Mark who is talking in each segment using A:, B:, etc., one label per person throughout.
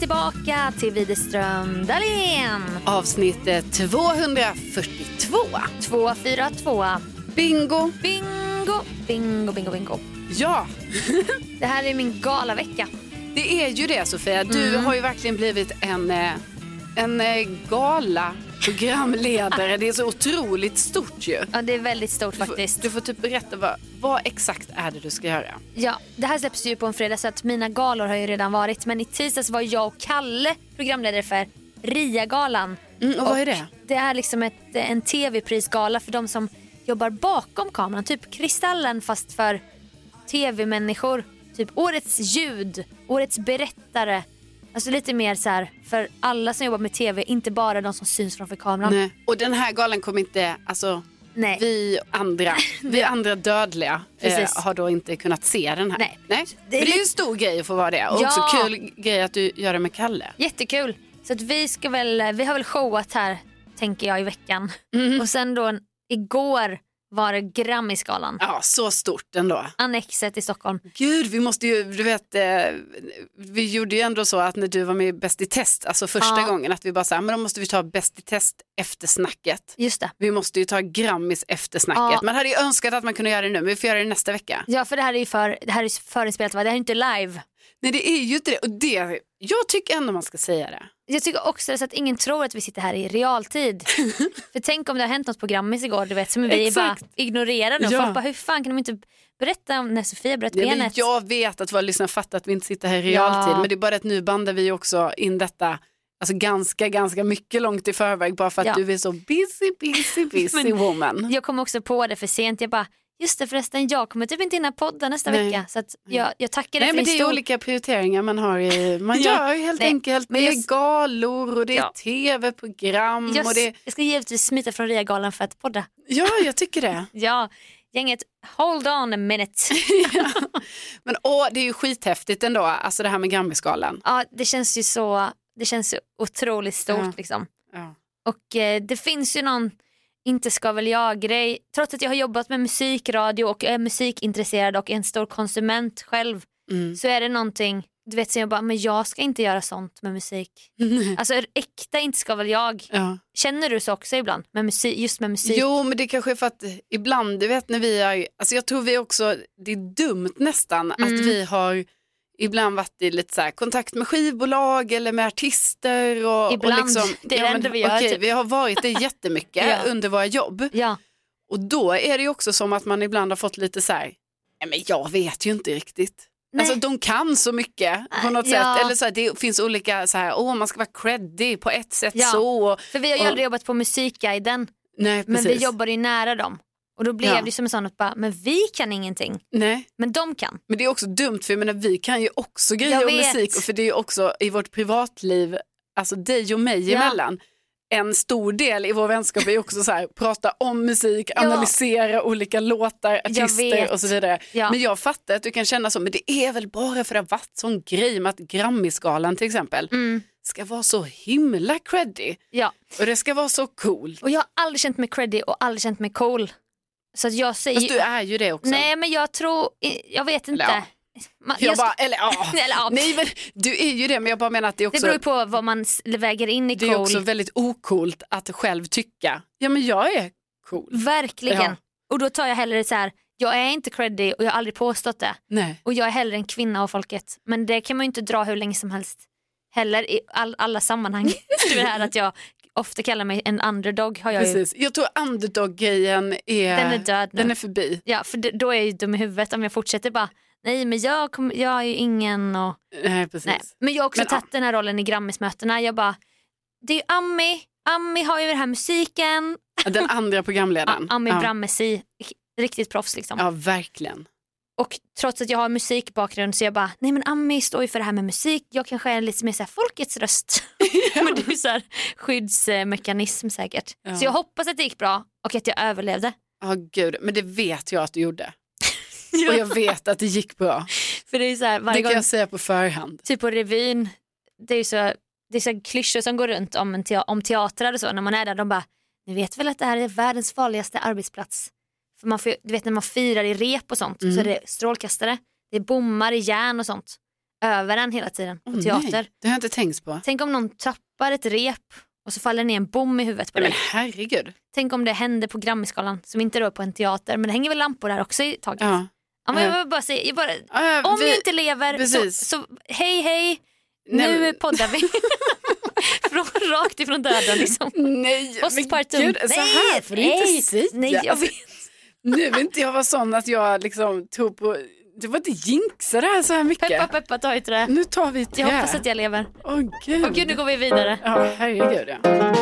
A: tillbaka till Widerström Dahlén.
B: Avsnitt eh, 242.
A: 242.
B: Bingo.
A: Bingo, bingo, bingo, bingo.
B: Ja,
A: Det här är min galavecka.
B: det är ju det Sofia. Du har ju verkligen blivit en, eh, en eh, gala programledare. Det är så otroligt stort ju.
A: Ja, det är väldigt stort
B: Du får,
A: faktiskt.
B: du får typ berätta vad, vad exakt är det du ska göra.
A: Ja, det här släpps ju på en fredag så att mina galor har ju redan varit. Men i tisdags var jag och Kalle programledare för RIA-galan.
B: Mm, och vad är det?
A: Det är liksom ett, en tv-prisgala för de som jobbar bakom kameran. Typ Kristallen fast för tv-människor. Typ Årets ljud, Årets berättare. Alltså lite mer så här för alla som jobbar med tv, inte bara de som syns framför kameran.
B: Nej. Och den här galan kommer inte, alltså
A: Nej.
B: vi andra, vi andra dödliga eh,
A: Precis.
B: har då inte kunnat se den här.
A: Nej. Det är
B: Det, är Men det är ju
A: lite-
B: en stor grej att få vara det och
A: Ja.
B: också kul grej att du gör det med Kalle.
A: Jättekul. Så att vi, ska väl, vi har väl showat här, tänker jag, i veckan.
B: Mhm.
A: Och sen då igår var det Grammisgalan.
B: Ja, så stort ändå.
A: Annexet i Stockholm.
B: Gud, vi måste ju, du vet, eh, vi gjorde ju ändå så att när du var med i Bäst i test, alltså första
A: Ja.
B: gången, att vi bara sa, men då måste vi ta Bäst i test efter snacket.
A: Just det.
B: Vi måste ju ta Grammis efter snacket.
A: Ja.
B: Man hade ju önskat att man kunde göra det nu, men vi får göra det nästa vecka.
A: Ja, för det här är ju för, det här är förinspelat, va? det här är inte live.
B: Nej, det är ju inte det. Och det, jag tycker ändå man ska säga det.
A: Jag tycker också så att ingen tror att vi sitter här i realtid. för tänk om det har hänt något på Grammis igår, du vet, som vi bara
B: Exakt.
A: ignorerar nu.
B: Ja.
A: Folk bara, hur fan kan de inte berätta om när Sofia bröt
B: Nej, men
A: benet?
B: jag vet att våra lyssnare fattar att vi inte sitter här i realtid,
A: Ja.
B: men det är bara att nu bandar vi också in detta Alltså ganska, ganska mycket långt i förväg bara för att
A: Ja.
B: du är så busy, busy, busy
A: Men-
B: woman.
A: Jag kom också på det för sent. Jag bara, just det förresten, jag kommer typ inte hinna podda nästa
B: Nej.
A: vecka. Så att jag, jag tackar dig
B: Nej
A: för
B: men
A: din
B: det är
A: stor-
B: olika prioriteringar man har i, man
A: Ja.
B: gör ju helt
A: Nej,
B: enkelt,
A: men
B: det
A: jag
B: är
A: s-
B: galor och det är
A: Ja.
B: tv-program
A: Jag,
B: Mm, och det,
A: jag ska givetvis smita från RIA-galan för att podda.
B: ja jag tycker det.
A: Ja, gänget, hold on a minute.
B: Men åh, det är ju skithäftigt ändå, alltså det här med Grammisgalan.
A: ja, det känns ju så, det känns ju otroligt stort
B: Ja.
A: liksom.
B: Ja.
A: Och eh, det finns ju någon inte ska väl jag-grej. Trots att jag har jobbat med musikradio och är musikintresserad och är en stor konsument själv
B: Mm.
A: så är det någonting, du vet som jag bara, men jag ska inte göra sånt med musik.
B: Mm.
A: Alltså äkta inte ska väl jag.
B: Ja.
A: Känner du så också ibland? Med musik, just med musik?
B: Jo men det kanske är för att ibland, du vet när vi är, alltså jag tror vi också, det är dumt nästan att
A: Mm.
B: vi har ibland varit i lite så här, kontakt med skivbolag eller med artister. Och,
A: Ibland.
B: och liksom,
A: Det är det enda vi gör,
B: okej,
A: typ.
B: vi har varit det jättemycket
A: Ja.
B: under våra jobb.
A: Ja,
B: Och då är det ju också som att man ibland har fått lite så här, nej men jag vet ju inte riktigt.
A: Nej. Ah,
B: Alltså de kan så mycket på något
A: Ja.
B: sätt. Eller så här, det finns olika så här, åh man ska vara creddig på ett sätt
A: Ja.
B: så. Och,
A: för vi har ju
B: Och-
A: aldrig jobbat på musikguiden
B: nej
A: men
B: precis.
A: vi jobbar ju nära dem. Och då blev
B: Ja.
A: det som en sån att bara, men vi kan ingenting,
B: nej.
A: men de kan.
B: Men det är också dumt för jag menar vi kan ju också grejer
A: Jag
B: om
A: vet.
B: musik. Och för det är ju också i vårt privatliv, alltså dig och mig
A: Ja.
B: emellan. En stor del i vår vänskap är ju också så här, prata om musik,
A: Ja.
B: analysera olika låtar,
A: vet.
B: artister och så vidare.
A: Ja.
B: Men jag fattar att du kan känna så, men det är väl bara för att det har varit sån grej med att Grammisgalan till exempel
A: Mm,
B: ska vara så himla creddy
A: ja.
B: och det ska vara så coolt.
A: Och jag har aldrig känt mig creddy och aldrig känt mig cool. Så att jag säger...
B: Fast du är ju det också.
A: Nej men jag tror, jag vet inte.
B: Eller
A: Man-
B: jag
A: jag-
B: bara, eller, ja.
A: Eller, ja.
B: Nej men du är ju det, men jag bara menar att det är
A: det
B: också
A: beror ju på vad man s- väger in i
B: Det är
A: cool.
B: också väldigt ocoolt att själv tycka, ja men jag är cool.
A: Verkligen.
B: Ja.
A: Och då tar jag hellre så här, jag är inte creddy och jag har aldrig påstått det.
B: Nej.
A: Och jag är hellre en kvinna av folket. Men det kan man ju inte dra hur länge som helst. Heller i all, alla sammanhang. det här att jag ofta kallar mig en underdog. Har jag ju.
B: Precis. Jag tror underdog-grejen är,
A: Den är död nu.
B: den är förbi.
A: Ja, för d- då är jag ju dum i huvudet om jag fortsätter bara, nej men jag, kommer- jag är ju ingen och
B: Nej, precis.
A: Nej. Men jag har också
B: Men, ja.
A: tagit den här rollen i Grammismötena. Jag bara, det är ju Ami, Ami har ju den här musiken.
B: Den andra programledaren.
A: Ami
B: ja.
A: Brammesi, riktigt proffs liksom.
B: ja, verkligen.
A: Och trots att jag har musikbakgrund så jag bara, nej men Ami står ju för det här med musik. Jag kanske är lite mer så här folkets röst. men det är ju så här skyddsmekanism säkert.
B: Ja.
A: Så jag hoppas att det gick bra och att jag överlevde.
B: Ja, gud. Men det vet jag att du gjorde. Och jag vet att det gick bra.
A: För det är ju så här, varje
B: Det kan
A: gång,
B: jag säga på förhand.
A: typ på revyn, det är ju så, det är så här klyschor som går runt om, en te- om teatrar och så när man är där. De bara, ni vet väl att det här är världens farligaste arbetsplats. För man får,
B: Mm.
A: ju- du vet när man firar i rep och sånt så är det strålkastare, det är bommar i järn och sånt. över en hela tiden på
B: Åh,
A: teater.
B: Nej, det har jag inte tänkt på.
A: Tänk om någon tappar ett rep och så faller ner en bom i huvudet på
B: Nej, men
A: dig.
B: herregud.
A: Tänk om det händer på Grammisgalan som inte rör på en teater men det hänger väl lampor där också i taget. Ja.
B: Ja.
A: men jag
B: Ja.
A: vill bara säga, jag bara,
B: Ja,
A: om
B: vi-
A: jag inte lever så,
B: precis.
A: så hej hej,
B: Nej,
A: nu
B: men-
A: poddar vi. Från, rakt ifrån döden liksom.
B: Nej,
A: Postpartum.
B: men gud, så här får du inte säga.
A: Nej, jag vet.
B: Nu vill inte jag vara sån att jag liksom tog på, du får inte jinxa det här så här mycket.
A: Peppa Mm, peppa ta i trä.
B: Nu tar vi ett
A: Jag hoppas att jag lever.
B: Åh gud.
A: Åh gud, nu går vi vidare.
B: Ja, herregud ja.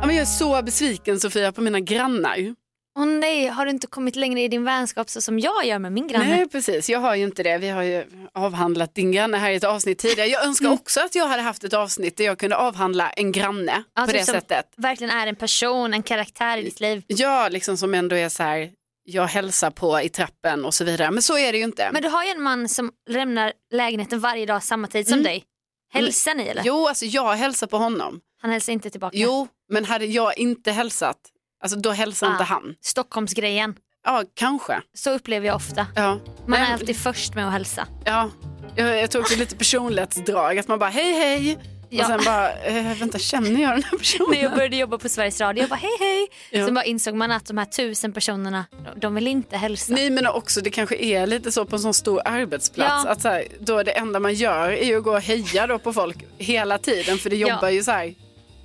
B: Ja, men Jag är så besviken Sofia på mina grannar.
A: Åh nej, har du inte kommit längre i din vänskap så som jag gör med min granne?
B: Nej precis, jag har ju inte det. Vi har ju avhandlat din granne här i ett avsnitt tidigare. Jag önskar
A: Mm.
B: också att jag hade haft ett avsnitt där jag kunde avhandla en granne
A: Ja,
B: på
A: typ
B: det
A: som-
B: sättet.
A: Verkligen är en person, en karaktär i ditt liv.
B: Ja, liksom som ändå är så här, jag hälsar på i trappen och så vidare. Men så är det ju inte.
A: Men du har ju en man som lämnar lägenheten varje dag samma tid som
B: Mm.
A: dig. Hälsar ni eller?
B: Jo, alltså jag hälsar på honom.
A: Han hälsar inte tillbaka.
B: Jo, men hade jag inte hälsat, alltså då hälsar
A: Ah.
B: inte han.
A: Stockholmsgrejen,
B: Ja, kanske.
A: så upplever jag ofta.
B: Ja.
A: Man
B: Nej,
A: är alltid först med att hälsa.
B: ja. Jag, jag tror också lite personlighetsdrag, att man bara hej hej.
A: Ja.
B: Och sen bara, eh, vänta känner jag den här personen?
A: När jag började jobba på Sveriges Radio, jag bara hej hej.
B: Ja.
A: Sen bara insåg man att de här tusen personerna, de- de vill inte hälsa.
B: Nej men också det kanske är lite så på en sån stor arbetsplats
A: Ja.
B: att så här, då är det enda man gör är ju att gå och heja då på folk hela tiden för det
A: Ja.
B: jobbar ju så här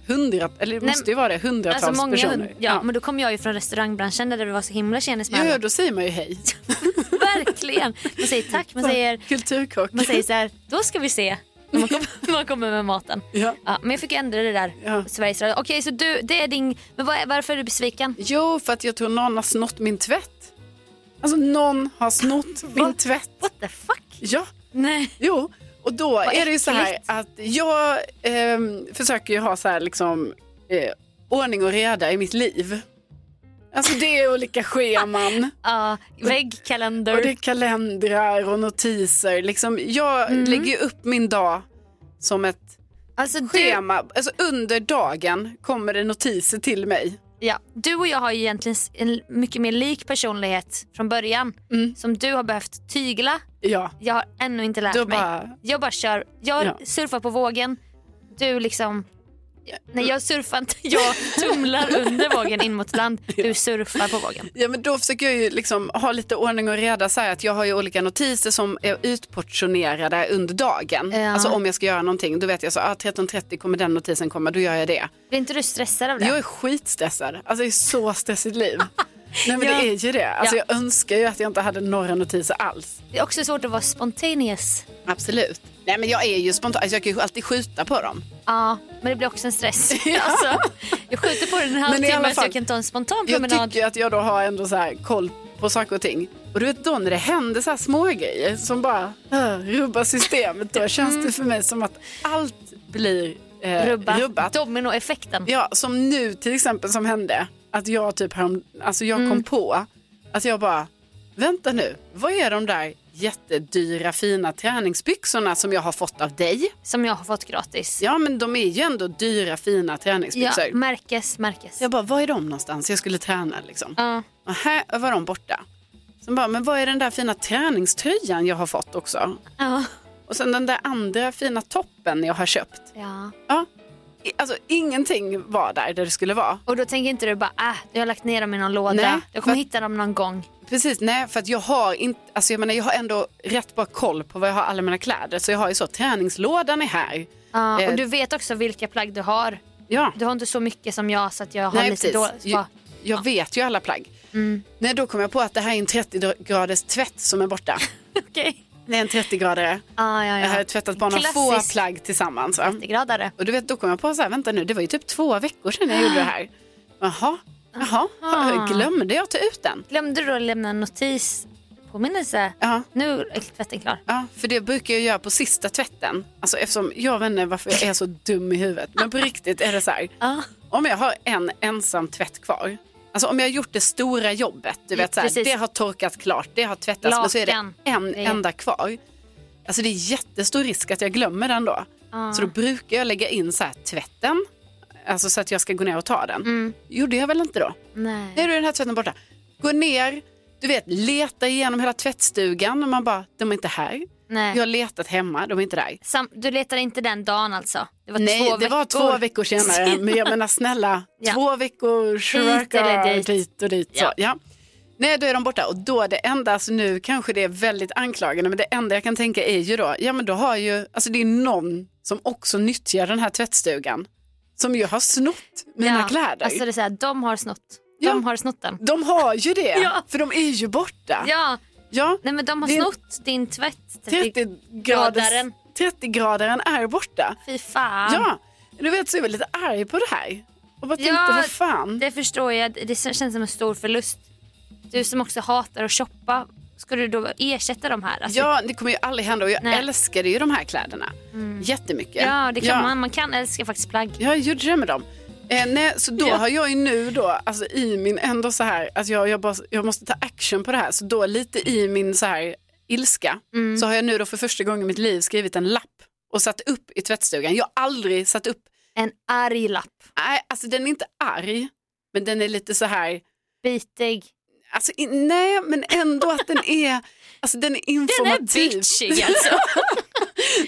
B: hundra, eller det
A: Nej,
B: måste ju vara det, hundratals
A: Alltså många
B: personer.
A: hund, ja, men då kom jag ju från restaurangbranschen där det var så himla tjenis med
B: Jo, jo,
A: alla.
B: då säger man ju hej.
A: Verkligen. Man säger tack, man
B: Så,
A: säger,
B: Kulturkock.
A: man säger så här, då ska vi se när man kommer, man kommer med maten.
B: Ja.
A: Ja, men jag fick ju ändra det där.
B: Ja.
A: Sveriges Radio. Okej, så du, det är din... Men vad är, varför är du besviken?
B: Jo, för att jag tror någon har snott min tvätt. Alltså någon har snott min tvätt.
A: What the fuck?
B: Ja,
A: Nej.
B: jo. Och då är det ju så här
A: äckligt.
B: att jag ehm, försöker ju ha så här liksom eh, ordning och reda i mitt liv. Alltså det är olika scheman
A: Ja, väggkalender.
B: och det är kalendrar och notiser. Liksom, jag
A: Mm.
B: lägger ju upp min dag som ett
A: alltså, du,
B: schema. Alltså under dagen kommer det notiser till mig.
A: ja, du och jag har ju egentligen s- en mycket mer lik personlighet från början
B: Mm.
A: som du har behövt tygla.
B: Ja,
A: Jag har ännu inte lärt
B: då
A: mig.
B: bara...
A: Jag bara kör. Jag
B: Ja.
A: surfar på vågen. Du liksom... Nej, jag surfar inte. Jag tumlar under vågen in mot land. Du surfar på vågen.
B: Ja, men då försöker jag ju liksom ha lite ordning och reda. Så här, att jag har ju olika notiser som är utportionerade under dagen.
A: Ja.
B: Alltså om jag ska göra någonting, då vet jag så ah, 13.30 kommer den notisen komma, då gör jag det.
A: Blir inte du stressad av det?
B: Jag är skitstressad. Alltså det är så stressigt liv. Nej men
A: Ja.
B: det är ju det. Alltså
A: Ja.
B: jag önskar ju att jag inte hade några notiser alls.
A: Det är också svårt att vara spontaneous.
B: Absolut. Nej men jag är ju spontan, alltså, jag kan ju alltid skjuta på dem.
A: Ja, men det blir också en stress. Alltså, jag skjuter på den en
B: Men i alla
A: halvtimme så
B: fall-
A: jag kan ta en spontan
B: Jag
A: promenad.
B: tycker att jag då har ändå så här koll på saker och ting. Och du vet då när det händer så här små grejer som bara äh, rubbar systemet, då känns det för mig som att allt blir eh,
A: Rubba.
B: rubbat.
A: Dominoeffekten.
B: Ja, som nu till exempel som hände, att jag typ härom, alltså jag
A: Mm.
B: kom på att jag bara, vänta nu, vad är de där jättedyra fina träningsbyxorna som jag har fått av dig?
A: Som jag har fått gratis.
B: Ja, men de är ju ändå dyra fina träningsbyxor.
A: Ja, märkes, märkes.
B: Jag bara, var är de någonstans? Jag skulle träna liksom.
A: Ja.
B: Och här var de borta. Sen bara, men vad är den där fina träningströjan jag har fått också?
A: Ja.
B: Och sen den där andra fina toppen jag har köpt.
A: ja.
B: Ja. I- Alltså ingenting var där, där det skulle vara.
A: Och då tänker inte du bara, äh, jag har lagt ner dem i någon låda.
B: Nej,
A: jag kommer
B: för-
A: hitta dem någon gång.
B: Precis, nej för att jag har inte, alltså jag menar jag har ändå rätt bra koll på vad jag har alla mina kläder. Så jag har ju så, träningslådan är här.
A: Ja,
B: Eh.
A: och du vet också vilka plagg du har.
B: Ja,
A: Du har inte så mycket som jag så att jag har
B: nej
A: lite Mm.
B: precis.
A: dåligt.
B: Jag, jag vet ju alla plagg. Nej, då kom jag på att det här är en 30 graders tvätt som är borta.
A: Okej.
B: Det är en 30-gradare.
A: Ja, ja, ja.
B: Jag har tvättat bara några få
A: Klassisk
B: plagg tillsammans. Va?
A: 30-gradare.
B: Och du vet, då kom jag på så här, vänta nu, det var ju typ två veckor sedan jag gjorde det här. Jaha, jaha,
A: Aha.
B: glömde jag ta ut den?
A: Glömde du då lämna en notis? Påminnelse?
B: Ja,
A: Nu är tvätten klar.
B: ja, för det brukar jag göra på sista tvätten. Alltså eftersom, jag vet inte varför jag är så dum i huvudet, men på riktigt är det så här,
A: Ja.
B: om jag har en ensam tvätt kvar, alltså om jag har gjort det stora jobbet, du vet så här,
A: Precis.
B: det har torkat klart, det har tvättats, men så är det
A: Lakan.
B: en
A: Det är-
B: enda kvar. Alltså det är jättestor risk att jag glömmer den då.
A: Ja.
B: Så då brukar jag lägga in så här, tvätten, alltså så att jag ska gå ner och ta den.
A: Mm.
B: Gjorde jag väl inte då? Nu är
A: Nej.
B: den här tvätten borta. Gå ner, du vet, leta igenom hela tvättstugan och man bara, de är inte här.
A: Nej.
B: Jag har letat hemma, de är inte där.
A: Sam, du letade inte den dagen alltså? Det var
B: Nej,
A: två
B: det
A: veckor.
B: var två veckor senare. Men jag menar snälla,
A: Ja.
B: två veckor,
A: eller
B: shuraka,
A: dit.
B: dit och dit. Så,
A: Ja.
B: ja. Nej, då är de borta och då är det enda, alltså nu kanske det är väldigt anklagande, men det enda jag kan tänka är ju då, ja men då har ju, alltså det är någon som också nyttjar den här tvättstugan, som ju har snott mina
A: Ja,
B: kläder.
A: Alltså det är så här, de har snott. De
B: Ja.
A: har snott den.
B: De har ju det,
A: Ja.
B: för de är ju borta.
A: Ja,
B: Ja.
A: nej men de har
B: Det-
A: snott din tvätt. typ.
B: 30-gradaren
A: 30-gradaren.
B: 30-gradaren är borta.
A: Fy fan.
B: Ja, du vet så är jag lite arg på det här. Och bara tänkte,
A: Ja,
B: vad fan.
A: Det förstår jag. Det kän- känns som en stor förlust. Du som också hatar att shoppa. Ska du då ersätta de här? Alltså,
B: Ja, det kommer ju aldrig hända och jag
A: Nej. Mm.
B: älskade ju de här kläderna jättemycket.
A: ja, det kan man. Man kan älska faktiskt plagg.
B: Ja, jag gjorde det med dem. Eh, nej, så då
A: Ja.
B: har jag ju nu då, alltså i min ändå så här, alltså jag, jag, bara, jag måste ta action på det här, så då lite i min så här ilska,
A: Mm.
B: så har jag nu då för första gången i mitt liv skrivit en lapp och satt upp i tvättstugan. Jag har aldrig satt upp,
A: En arg lapp.
B: nej, alltså den är inte arg, men den är lite så här,
A: Bitig.
B: alltså i, nej, men ändå att den är, alltså den är informativ.
A: alltså.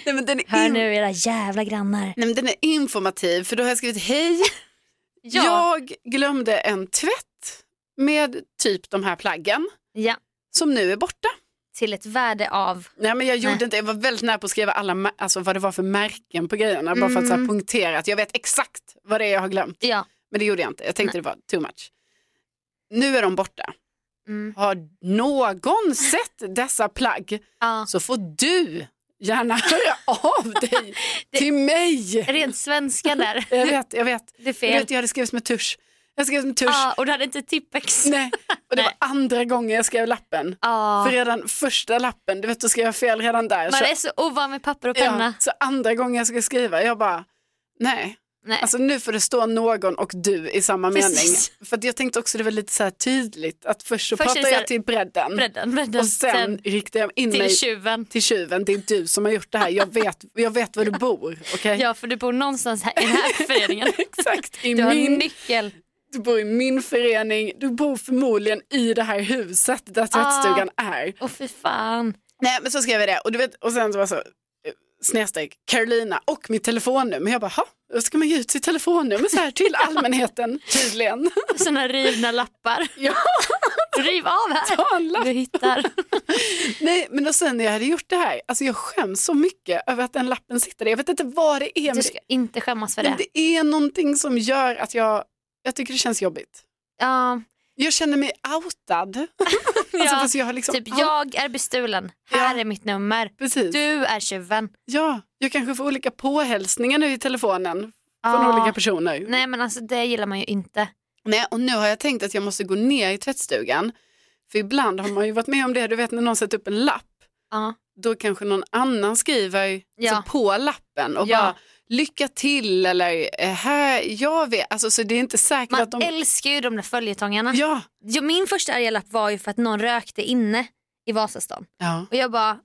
B: nej, men den är
A: Hör
B: in-
A: nu era jävla grannar.
B: Nej, men den är informativ för då har jag skrivit hej,
A: Ja.
B: jag glömde en tvätt med typ de här plaggen
A: ja.
B: som nu är borta.
A: Till ett värde av.
B: Nej men jag gjorde
A: Nej.
B: inte, jag var väldigt nära på att skriva alla, mä- alltså vad det var för märken på grejerna bara för att så
A: Mm.
B: här punktera att jag vet exakt vad det är jag har glömt.
A: Ja.
B: Men det gjorde jag inte, jag tänkte det var too much. Nu är de borta.
A: Mm.
B: Har någon sett dessa plagg
A: ja.
B: så får du gärna höra av dig till mig.
A: Rent svenska där.
B: Jag vet, jag vet.
A: Det är
B: Jag,
A: fel.
B: vet, jag hade skrivit med tusch. Jag skrev med tusch.
A: Ja, och du hade inte Tippex.
B: Nej. Och det
A: Nej.
B: var andra gången jag skrev lappen.
A: Ja.
B: För redan första lappen, du vet, då skrev jag fel redan där.
A: Man
B: Så,
A: är så ovan med papper och
B: ja,
A: penna.
B: så andra gången jag ska skriva, jag bara, nej.
A: Nej.
B: Alltså nu får det stå någon och du i samma
A: Precis.
B: mening. För att jag tänkte också det var lite så här tydligt att först så
A: Först är det
B: pratar
A: så
B: jag
A: här-
B: till bredden,
A: Bredden, bredden.
B: och sen, riktar jag in mig
A: till tjuven.
B: till tjuven. Det är du som har gjort det här, jag vet, jag vet var du bor. okej?
A: Ja, för du bor någonstans här, i den här föreningen.
B: Exakt, i
A: Du har
B: min
A: en nyckel.
B: du bor i min förening, du bor förmodligen i det här huset
A: Ah.
B: där tvättstugan är.
A: Åh fy fan.
B: Nej men så skrev jag det och, du vet, och sen så var det så eh, snedstreck Carolina och mitt telefonnummer. Jag bara, "Ha, då ska man ge ut sitt telefonnummer så här till allmänheten tydligen.
A: Såna rivna lappar.
B: Ja.
A: Riv av här.
B: Ta en lapp.
A: Du hittar.
B: Nej men och sen när jag hade gjort det här, alltså jag skäms så mycket över att den lappen sitter där. Jag vet inte vad det är, men
A: Du ska inte skämmas för
B: det, men
A: det.
B: det är någonting som gör att jag, jag tycker det känns jobbigt.
A: Ja,
B: Jag känner mig outad. Alltså,
A: ja.
B: fast jag har liksom,
A: Typ
B: out-
A: jag är bestulen. Här
B: Ja.
A: är mitt nummer.
B: Precis.
A: Du är tjuven.
B: Ja, jag kanske får olika påhälsningar nu i telefonen från
A: Ja.
B: olika personer. Nej.
A: Nej men alltså det gillar man ju inte.
B: och nu har jag tänkt att jag måste gå ner i tvättstugan. För ibland har man ju varit med om det, du vet när någon sätter upp en lapp,
A: Ja.
B: då kanske någon annan skriver
A: Ja.
B: så på lappen och
A: Ja.
B: bara lycka till eller "Eh, här, jag vet, alltså så det är inte säkert
A: Man
B: att de...
A: älskar ju de där följetongarna.
B: Ja.
A: Jo, min första arga lapp var ju för att någon rökte inne i Vasastan.
B: ja.
A: Och jag bara,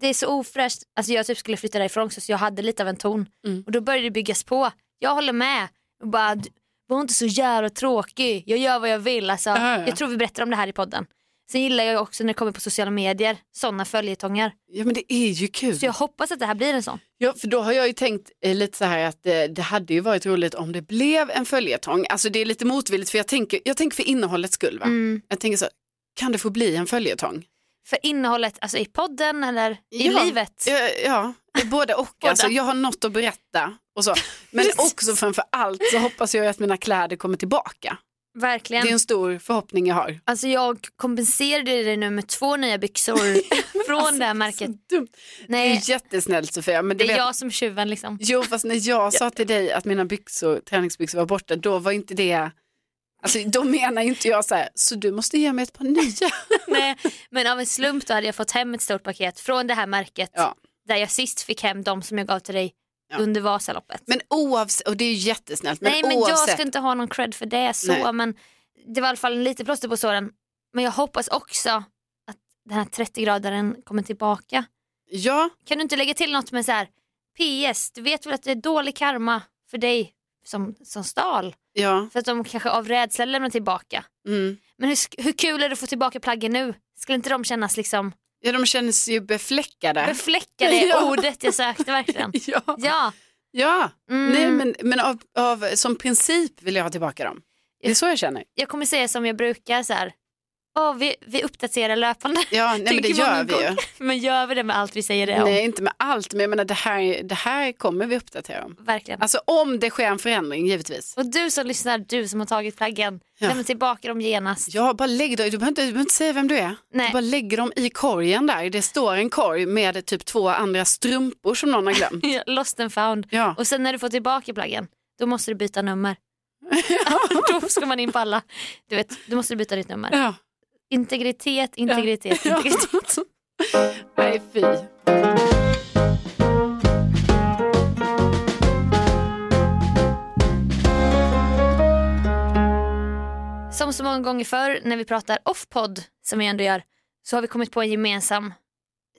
A: det är så ofräscht. Alltså jag typ skulle flytta därifrån också, så jag hade lite av en ton.
B: Mm.
A: Och då började det byggas på. Jag håller med. Och bara, "Du, var inte så jävla tråkig. Jag gör vad jag vill. Alltså,
B: Ja, ja.
A: Jag tror vi berättar om det här i podden. Sen gillar jag också när det kommer på sociala medier, sådana följetonger.
B: Ja men det är ju kul.
A: Så jag hoppas att det här blir en sån.
B: Ja, för då har jag ju tänkt eh, lite så här att eh, det hade ju varit roligt om det blev en följetong. Alltså det är lite motvilligt för jag tänker, jag tänker för innehållets skull.
A: Mm.
B: Va? Jag tänker så, kan det få bli en följetong?
A: För innehållet, alltså i podden eller i
B: Ja.
A: livet.
B: Ja, ja både och. Alltså, jag har något att berätta och så. Men
A: Precis.
B: också framför allt så hoppas jag ju att mina kläder kommer tillbaka.
A: Verkligen.
B: Det är en stor förhoppning jag har.
A: Alltså jag kompenserade det nu med två nya byxor från det här märket.
B: Så dumt. alltså, Det
A: Nej,
B: är jättesnällt Sofia, men
A: Eh. det
B: du
A: är
B: vet,
A: jag som är tjuven liksom.
B: Jo, fast när jag sa till dig att mina byxor, träningsbyxor var borta, då var inte det, alltså då menar ju inte jag så här, så du måste ge mig ett par nya.
A: Nej, men av en slump då hade jag fått hem ett stort paket från det här märket
B: Ja.
A: där jag sist fick hem de som jag gav till dig
B: Ja.
A: under Vasaloppet.
B: Men oavsett, och det är ju jättesnällt, men,
A: Nej men jag
B: oavsett.
A: ska inte ha någon cred för det så
B: Nej.
A: men det var i alla fall lite plåster på såren. Men jag hoppas också att den här 30-gradaren kommer tillbaka.
B: Ja,
A: Kan du inte lägga till något med så här PS, du vet väl att det är dålig karma för dig som, som stal.
B: Ja.
A: För att de kanske av rädsla lämnar tillbaka.
B: Mm.
A: Men hur, sk- hur kul är det att få tillbaka plaggen nu? Skulle inte de kännas liksom
B: ja, de känns ju befläckade.
A: befläckade?
B: Ja.
A: Ordet jag sökte verkligen.
B: ja,
A: Ja,
B: ja.
A: Mm.
B: Nej, men, men av, av, som princip vill jag ha tillbaka dem. Det är så jag känner.
A: jag kommer säga som jag brukar så här. Åh, vi, vi uppdaterar löpande.
B: Ja, nej, men det
A: Tänker
B: gör
A: många
B: vi ju.
A: gånger. Men gör vi det med allt vi säger det om?
B: Nej, inte med allt, men jag menar, det, här, det här kommer vi uppdatera om.
A: Verkligen.
B: Alltså om det sker en förändring, givetvis.
A: Och du som lyssnar, du som har tagit plaggen,
B: Ja.
A: lämna tillbaka dem genast.
B: Ja, bara lägg dem. Du behöver, inte, du behöver inte säga vem du är.
A: Nej.
B: Du bara lägger dem i korgen där. Det står en korg med typ två andra strumpor som någon har glömt.
A: Ja, Lost and found.
B: Ja.
A: Och sen när du får tillbaka plaggen, då måste du byta nummer. då ska man in på alla. Du vet, du måste byta ditt nummer.
B: Ja.
A: Integritet, integritet,
B: Ja.
A: integritet.
B: Nej, fy.
A: Som så många gånger förr när vi pratar off-podd, som vi ändå gör, så har vi kommit på en gemensam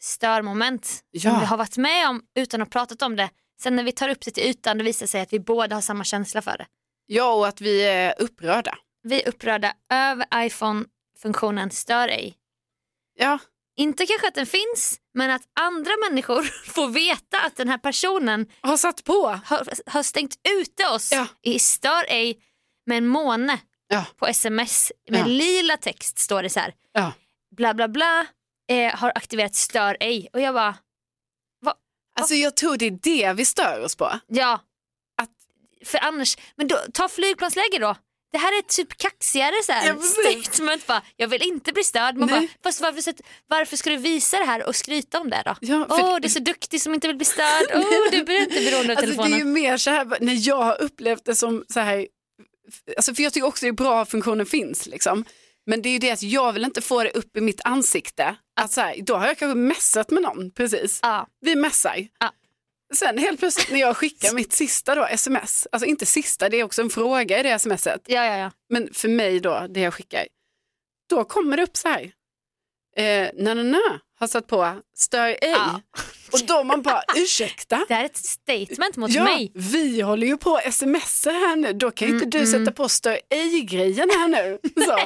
A: störmoment som
B: Ja.
A: vi har varit med om utan att ha pratat om det. Sen när vi tar upp det till ytan det visar sig att vi båda har samma känsla för det.
B: Ja, och att vi är upprörda.
A: Vi är upprörda över iPhone-funktionen stör ej.
B: Ja,
A: Inte kanske att den finns, men att andra människor får veta att den här personen
B: har satt på.
A: har, har stängt ute oss
B: Ja.
A: i stör ej med en måne
B: Ja.
A: på sms med
B: Ja.
A: lila text står det så här.
B: Ja.
A: Bla bla bla eh, har aktiverat stör ej och jag bara
B: Alltså jag tror det är det vi stör oss på.
A: ja.
B: Att-
A: För annars, men då, ta flygplansläge då. Det här är typ kaxigare så här,
B: Ja, precis.
A: statement bara, jag vill inte bli störd. Man
B: Nej.
A: bara, fast varför, så- varför ska du visa det här och skryta om det då?
B: Ja,
A: Åh,
B: för-
A: du är så duktig som inte vill bli störd. Åh, du blir inte beroende av
B: Alltså, det är
A: telefonen.
B: ju mer så här, när jag har upplevt det som så här, alltså, för jag tycker också det är bra att funktionen finns liksom. Men det är ju det att jag vill inte få det upp i mitt ansikte. Att så här, då har jag kanske messat med någon, precis.
A: Ja,
B: Vi messar.
A: Ja.
B: Sen helt plötsligt när jag skickar mitt sista då, sms, alltså inte sista, det är också en fråga i det smset.
A: ja, ja, ja.
B: Men för mig då, det jag skickar, då kommer det upp så här. Eh, na, na, na, har satt på stör ej.
A: Ja.
B: Och då man bara, ursäkta?
A: Det här är ett statement mot
B: Ja,
A: mig.
B: vi håller ju på att smsa här nu, då kan ju inte
A: Mm,
B: du sätta på stör ej-grejen här nu. Så.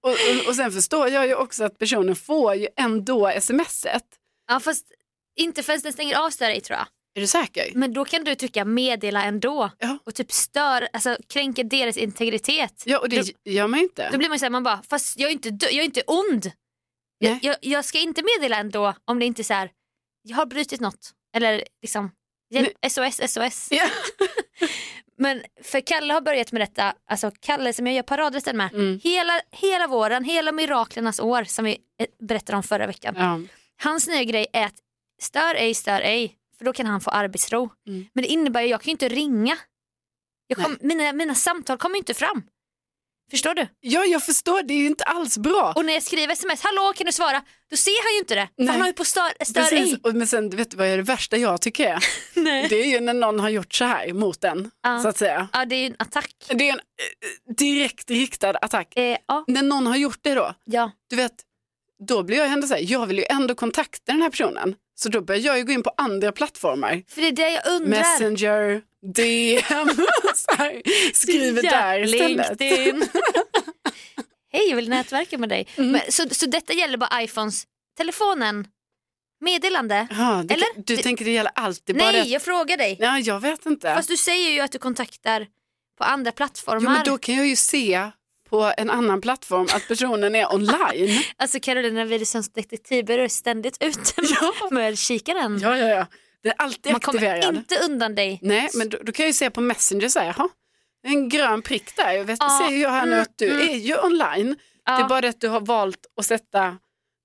B: Och, och, och sen förstår jag ju också att personen får ju ändå smset.
A: Ja, fast inte förrän den stänger av stör dig tror jag.
B: Är du säker?
A: Men då kan du tycka meddela ändå
B: Ja.
A: och typ stör, alltså kränker deras integritet.
B: Ja, och det
A: Mm.
B: gör man ju inte.
A: Då blir man ju såhär, man bara, fast jag är inte, dö- jag är inte ond. Jag,
B: Nej.
A: jag, jag ska inte meddela ändå om det inte är såhär, jag har brutit något. Eller liksom, hjälp, SOS, SOS.
B: Ja.
A: Men för Kalle har börjat med detta, alltså Kalle som jag gör paradrätten med,
B: Mm.
A: hela, hela våren, hela miraklernas år som vi eh, berättade om förra veckan.
B: Ja.
A: Hans nya grej är att stör ej, stör ej, för då kan han få arbetsro.
B: Mm.
A: Men det innebär ju jag kan ju inte ringa. Jag kom,
B: Nej.
A: mina, mina samtal kommer ju inte fram. Förstår du?
B: ja, jag förstår, det är ju inte alls bra.
A: Och när jag skriver sms, hallå kan du svara? Då ser han ju inte det. För
B: Nej.
A: han har ju på stör, stör
B: Precis,
A: ej.
B: och, men sen vet du vad är det värsta jag tycker är?
A: Nej.
B: Det är ju när någon har gjort så här mot en,
A: Ja.
B: så att säga.
A: Ja det är ju en attack.
B: Det är en eh, direkt riktad attack.
A: Eh, ja,
B: När någon har gjort det då,
A: ja.
B: du vet, då blir jag ändå så här, jag vill ju ändå kontakta den här personen. Så då börjar jag ju gå in på andra plattformar.
A: För det är det jag undrar.
B: Messenger, DM, så här, skriver där
A: Ja,
B: istället.
A: LinkedIn. Hej, jag vill nätverka med dig.
B: Mm.
A: Men, så, så detta gäller bara iPhones, telefonen, meddelande.
B: Ja, det,
A: Eller?
B: Du
A: Det-
B: tänker det gäller allt, det är bara
A: Nej,
B: det
A: jag frågar dig.
B: Ja, jag vet inte.
A: Fast du säger ju att du kontaktar på andra plattformar.
B: jo, men då kan jag ju se på en annan plattform att personen är online.
A: Alltså Carolina Widerströms detektivbyrå är ständigt ute med, med kikaren.
B: ja, ja, ja. Den är alltid
A: Man kommer
B: aktiverad.
A: inte undan dig.
B: Nej, men då, då kan jag ju se på Messenger så här, jaha, det är en grön prick där. Jag vet,
A: Ja,
B: ser ju här nu
A: mm,
B: att du
A: mm.
B: är ju online. Det
A: Ja.
B: är bara det att du har valt att sätta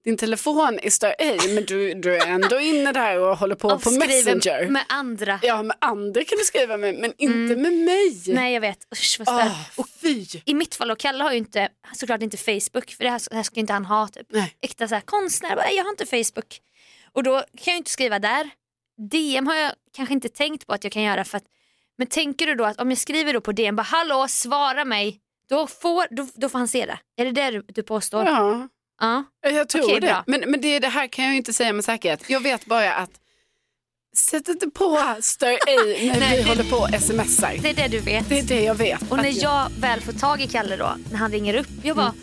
B: din telefon i stör ej, men du, du är ändå inne där och håller på
A: Och
B: på
A: skriver
B: Messenger.
A: Med andra.
B: Ja, med andra kan du skriva med, men inte med mig.
A: Mm. Nej jag vet, usch vad stört.
B: Ah, fy.
A: I mitt fall och Kalle har ju inte, såklart inte Facebook för det här, det här ska ju inte han ha typ.
B: Nej.
A: Äkta så här, konstnär, bara, jag har inte Facebook. Och då kan jag ju inte skriva där. DM har jag kanske inte tänkt på att jag kan göra för att, men tänker du då att om jag skriver då på DM, bara hallå svara mig, då får, då, då får han se det. Är det det du, du påstår? Ja.
B: Ja. Jag tror
A: Okej,
B: det.
A: bra.
B: Men, men det, det här kan jag ju inte säga med säkerhet. Jag vet bara att Sätt inte på stör ej när
A: Nej,
B: vi
A: det-
B: håller på och smsar.
A: Det är det du vet.
B: Det är det jag vet.
A: Och
B: att
A: när jag väl får tag i Kalle då, när han ringer upp, jag bara,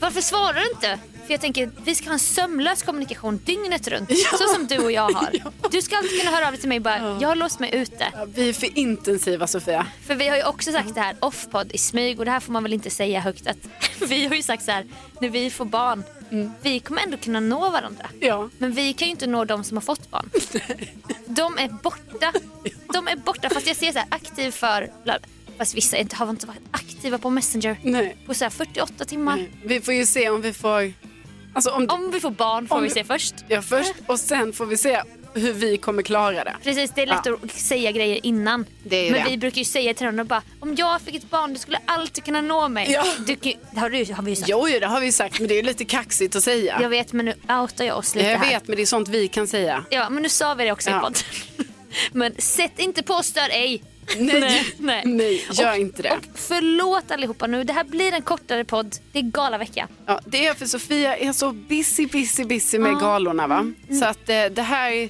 A: varför svarar du inte? För jag tänker, vi ska ha en sömlös kommunikation dygnet runt.
B: Ja.
A: Så som du och jag har. Du ska alltid kunna höra av dig till mig och bara, jag har låst mig ute.
B: Ja, Vi är för intensiva Sofia.
A: För vi har ju också sagt det här offpod i smyg och det här får man väl inte säga högt att vi har ju sagt så här, när vi får barn, vi kommer ändå kunna nå varandra.
B: Ja.
A: Men vi kan ju inte nå de som har fått barn. De är borta. De är borta fast jag ser så här aktiv för, fast vissa inte, har inte varit aktiva på Messenger
B: Nej.
A: på så här 48 timmar.
B: Nej. Vi får ju se om vi får... Alltså om...
A: Om vi får barn får
B: Om-
A: vi se först.
B: Ja, först och sen får vi se hur vi kommer klara det.
A: Precis, det är lätt
B: Ja.
A: att säga grejer innan.
B: Det är ju
A: Men
B: det.
A: vi brukar ju säga till honom bara, om jag fick ett barn du skulle alltid kunna nå mig.
B: Ja.
A: Du, kan ju- det har, du, har vi ju sagt.
B: Jo, jo, det har vi ju sagt, men det är ju lite kaxigt att säga.
A: Jag vet men nu outar jag oss lite
B: Jag
A: här.
B: vet, men det är sånt vi kan säga.
A: Ja men nu sa vi det också i
B: Ja.
A: podden. Men sätt inte på stör ej.
B: Nej,
A: nej.
B: nej gör inte det.
A: Och förlåt allihopa nu, det här blir en kortare podd. Det är galavecka.
B: Ja, det är för Sofia är så busy, busy, busy med galorna. Va?
A: Mm.
B: Så att eh, det här... är-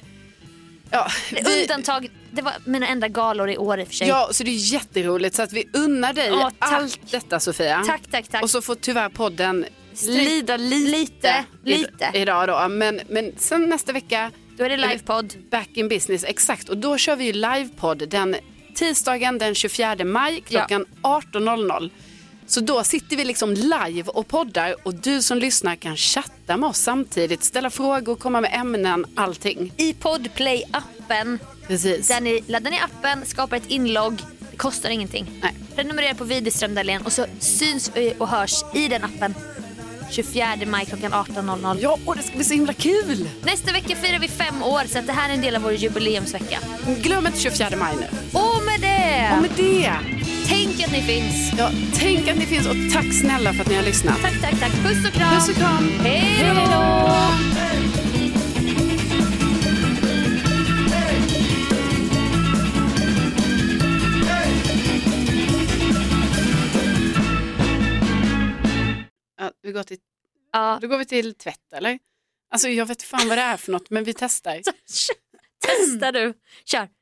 B: Ja, vi-
A: Undantag, det var mina enda galor i år i och för sig.
B: Eh, ja, så det är jätteroligt. Så att vi unnar dig
A: Ja, tack.
B: allt detta Sofia.
A: Tack, tack, tack.
B: Och så får tyvärr podden
A: Stryk-
B: lida lite,
A: lite,
B: i-
A: lite.
B: idag då. Men, men sen nästa vecka...
A: Då är det livepodd.
B: Back in business, exakt. Och då kör vi ju livepodd den tisdagen den 24 maj klockan 18.00. Så då sitter vi liksom live och poddar och du som lyssnar kan chatta med oss samtidigt, ställa frågor, komma med ämnen, allting.
A: I Podplay-appen.
B: Precis.
A: Där ni laddar ner appen, skapar ett inlogg. Det kostar ingenting.
B: Nej.
A: Prenumerera på Widerström Dahlén och så syns vi och hörs i den appen 24 maj klockan 18.00.
B: Ja, och det ska bli så himla kul!
A: Nästa vecka firar vi fem år så att det här är en del av vår jubileumsvecka.
B: Glöm inte 24 maj nu.
A: Och med det,
B: Och med det,
A: tänk att ni finns.
B: ja, tänk att ni finns och tack snälla för att ni har lyssnat.
A: Tack, tack, tack. Puss och kram.
B: Puss och kram!
A: Hej då!
B: Ja, vi går till,
A: Ja.
B: då går vi till tvätt eller? Alltså jag vet fan vad det är för något men vi testar.
A: Testa du. Kör.